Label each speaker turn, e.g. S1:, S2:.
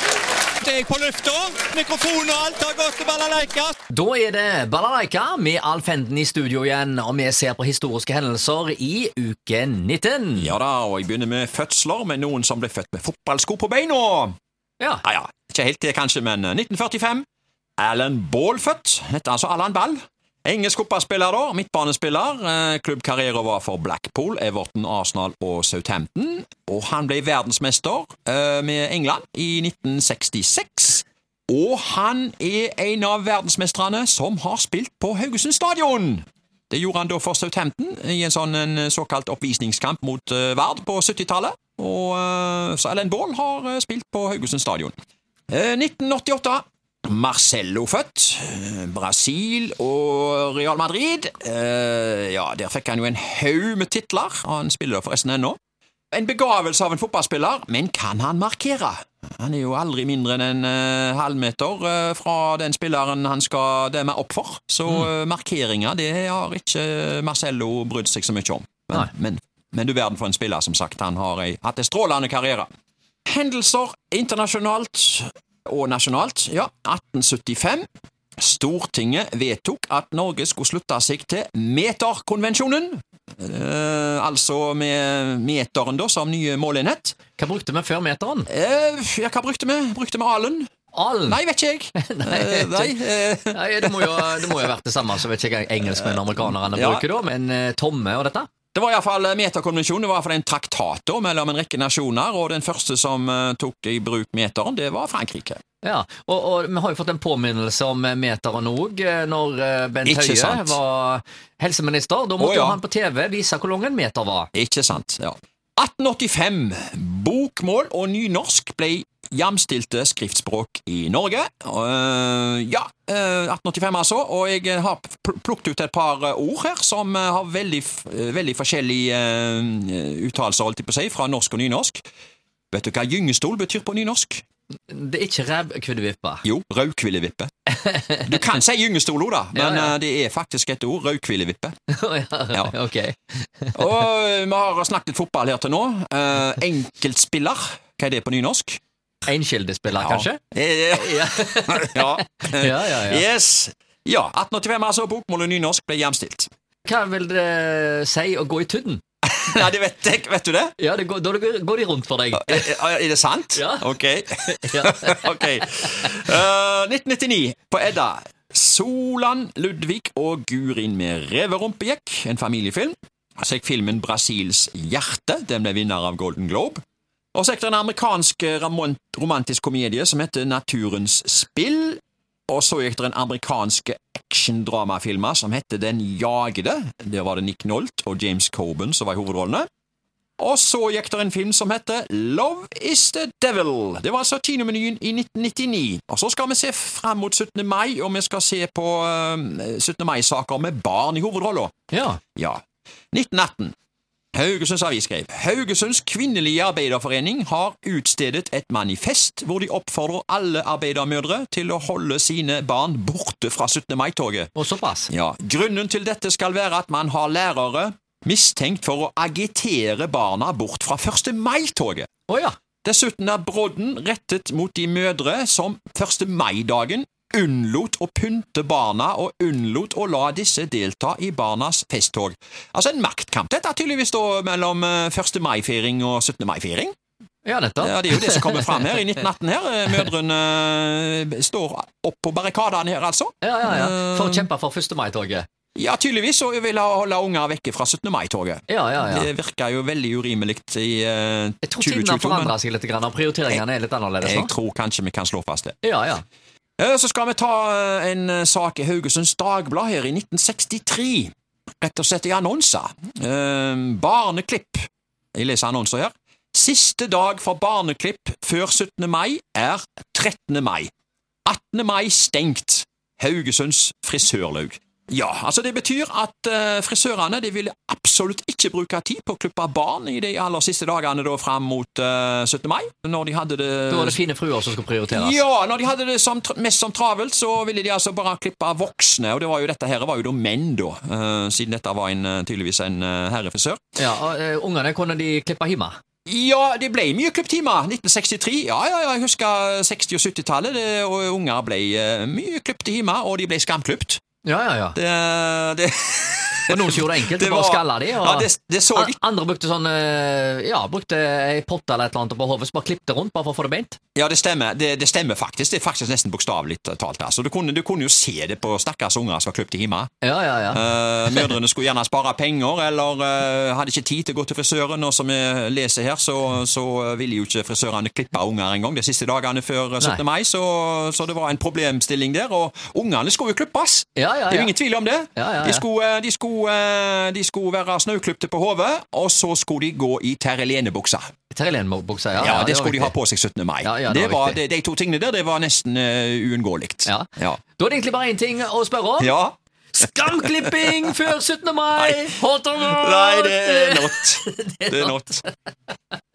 S1: Først er jeg på lufta. Mikrofon og alt har gått til balalaika.
S2: Da er det Balalaika med Alf Henden i studio igjen, og vi ser på historiske hendelser i uke 19.
S1: Ja da, og jeg begynner med fødsler, med noen som ble født med fotballsko på beina.
S2: Ja.
S1: Ja, ja, ikke helt det kanskje, men eh, 1945. Alan Ball født. Dette er altså Alan Ball. Engelsk fotballspiller, da. Midtbanespiller. Eh, Klubbkarriere var for Blackpool, Everton, Arsenal og Southampton. Og han ble verdensmester eh, med England i 1966. Og han er en av verdensmestrene som har spilt på Haugesund stadion. Det gjorde han da for Southampton i en sånn en såkalt oppvisningskamp mot eh, Vard på 70-tallet. Og eh, så Ellen Baal har eh, spilt på Haugesund stadion. Eh, 1988. Marcello født. Eh, Brasil og Real Madrid. Eh, ja, der fikk han jo en haug med titler. Han spiller forresten ennå. En begavelse av en fotballspiller, men kan han markere? Han er jo aldri mindre enn en eh, halvmeter eh, fra den spilleren han skal demme opp for, så eh, markeringer det har ikke Marcello brydd seg så mye om. Men, men, men du verden for en spiller, som sagt. Han har ei, hatt en strålende karriere. Hendelser internasjonalt og nasjonalt. Ja, 1875. Stortinget vedtok at Norge skulle slutte seg til meterkonvensjonen. Eh, altså med meteren da som nye målenhet.
S2: Hva brukte vi før meteren?
S1: Eh, ja, hva brukte vi? Brukte vi alen?
S2: Alen?
S1: Nei, vet ikke jeg.
S2: Nei,
S1: Eh, nei, eh,
S2: Nei, det, må jo, det må jo ha vært det samme som vet ikke hva engelskmenn og amerikanerne
S1: Ja.
S2: bruker, da, men eh, tomme og dette?
S1: Det var iallfall eh, meterkonvensjonen. Det var i hvert fall en traktat da, mellom en rekke nasjoner, og den første som eh, tok i bruk meteren, det var Frankrike.
S2: Ja, og, og vi har jo fått en påminnelse om eh, meteren òg, når eh, Bent
S1: Ikke
S2: Høie
S1: sant.
S2: var helseminister. Da
S1: Å,
S2: måtte jo
S1: ja.
S2: han på TV vise hvor lang en meter var.
S1: Ikke sant? Ja. 1885. Bokmål og nynorsk ble jamstilte skriftspråk i Norge. Eh, ja, eh, 1885 altså. Og jeg har pl- plukket ut et par eh, ord her som eh, har veldig, f- eh, veldig forskjellige eh, uttalelser, holdt jeg på å si, fra norsk og nynorsk. Vet du hva gyngestol betyr på nynorsk?
S2: Det er ikke rævkviddevippa.
S1: Jo, rauhvilevippe. Du kan si gyngestol òg, da, men
S2: Ja, ja.
S1: eh, det er faktisk et ord. Rauhvilevippe.
S2: ja,
S1: Ja.
S2: ok.
S1: Og eh, vi har snakket fotball her til nå. Eh, enkeltspiller, hva er det på nynorsk?
S2: Enkildespiller, kanskje?
S1: Eh,
S2: Ja.
S1: ja.
S2: ja, ja, ja.
S1: Yes. Ja, 1885 altså, bokmål og nynorsk ble jamstilt.
S2: Hva vil det si å gå i tudden?
S1: Nei, det vet jeg. Vet du det?
S2: Ja, det går, da går går de rundt for deg.
S1: Eh, eh, Er det sant?
S2: Ja.
S1: Ok.
S2: Ja.
S1: ok. Eh, 1999, på Edda. Solan, Ludvig og Gurin med reverumpejekk, en familiefilm. Så gikk filmen Brasils hjerte, den ble vinner av Golden Globe. Og så gikk det en amerikansk ramon- romantisk komedie som heter Naturens spill. Og så gikk det en amerikansk actiondramafilm som heter Den jagede. Der var det Nick Nolt og James Coben som var i hovedrollene. Og så gikk det en film som heter Love is the Devil. Det var altså kinomenyen i 1999. Og så skal vi se fram mot 17. mai, og vi skal se på eh, 17. mai-saker med barn i hovedrollen.
S2: Ja.
S1: Ja. 1918. Haugesunds Avis skrev Haugesunds kvinnelige arbeiderforening har utstedet et manifest hvor de oppfordrer alle arbeidermødre til å holde sine barn borte fra 17. mai-toget.
S2: Og såpass.
S1: Ja, Grunnen til dette skal være at man har lærere mistenkt for å agitere barna bort fra 1. mai-toget.
S2: Å ja.
S1: Dessuten er brodden rettet mot de mødre som 1. mai-dagen unnlot å pynte barna og unnlot å la disse delta i barnas festtog. Altså en maktkamp. Dette er tydeligvis da mellom eh, 1. mai-feiring og 17. mai-feiring.
S2: Ja, nettopp.
S1: Ja, det er jo det som kommer fram her i 1918 her. Eh, Mødrene eh, står opp på barrikadene her, altså.
S2: Ja, ja, ja. For å
S1: Eh,
S2: kjempe for 1. mai-toget.
S1: Ja, tydeligvis så vil jeg holde unger vekke fra 17. mai-toget.
S2: Ja, ja, ja.
S1: Det virker jo veldig urimelig i eh,
S2: Jeg tror tiden
S1: 2022,
S2: har
S1: men
S2: forandra seg altså. litt, grann, og prioriteringene er litt annerledes
S1: jeg
S2: nå.
S1: tror kanskje vi kan slå fast det.
S2: Ja, ja.
S1: Eh, Så skal vi ta eh, en eh, sak i Haugesunds Dagblad her i 1963. Rett og slett i annonser. Eh, Barneklipp. Jeg leser annonser her. Siste dag for barneklipp før 17. mai er 13. mai. 18. mai stengt. Haugesunds frisørlaug. Ja, altså det betyr at eh, frisørene de vil absolutt ikke bruke tid på å klippe barn i de aller siste dagene da fram mot eh, 17. mai, når de hadde det
S2: Da var det fine fruer som skulle prioriteres.
S1: Eh, ja, når de hadde det som, tr- mest som travelt, så ville de altså bare klippe av voksne, og det var jo dette her var jo da menn, da, eh, siden dette var en, eh, tydeligvis en eh, herrefrisør.
S2: Ja, og eh, Ungene kunne de klippe hjemme.
S1: Ja, det ble mye klubbtimer. 1963. Ja, ja, ja, jeg husker 60- og 70-tallet. det- og Unger ble eh, mye klubbte hjemme, og de ble skamklubt.
S2: Ja, ja, ja.
S1: Det, det,
S2: Og noen som gjorde det enkelt,
S1: Det
S2: og bare
S1: var-
S2: skalla de. Og
S1: ja, Ah. det, det så
S2: An- Andre brukte sånn eh, Ja, brukte ei potte eller et eller annet på hodet, så bare klippte rundt bare for å få det beint.
S1: Ja, det stemmer. Det, det stemmer faktisk. Det er faktisk nesten bokstavelig talt. Altså. Du, kunne, du kunne jo se det på stakkars unger som var klippet hjemme.
S2: Ja, ja, ja.
S1: Eh, mødrene skulle gjerne spare penger, eller eh, hadde ikke tid til å gå til frisøren. Og som jeg leser her, så, så ville jo ikke frisørene klippe unger engang de siste dagene før 17.
S2: Nei.
S1: mai, så, så det var en problemstilling der. Og ungene skulle jo klippes!
S2: ja, ja,
S1: Det er jo
S2: ja.
S1: ingen tvil om det.
S2: Ja, ja, ja.
S1: De, skulle, eh, de, skulle, eh, de skulle være snauklipte på hodet, og så skulle de gå i terrelenebuksa.
S2: Terrelenbuksa, ja.
S1: Ja, det,
S2: var
S1: skulle de
S2: riktig.
S1: ha på seg 17. mai.
S2: Ja, ja,
S1: det
S2: det var
S1: var,
S2: riktig.
S1: det, de to tingene der det var nesten uh, uunngåelig.
S2: Ja.
S1: Ja.
S2: Da er det egentlig bare én ting å spørre om.
S1: Ja.
S2: Skamklipping før 17. mai! Hot or not?
S1: Nei, det er not. Det er not.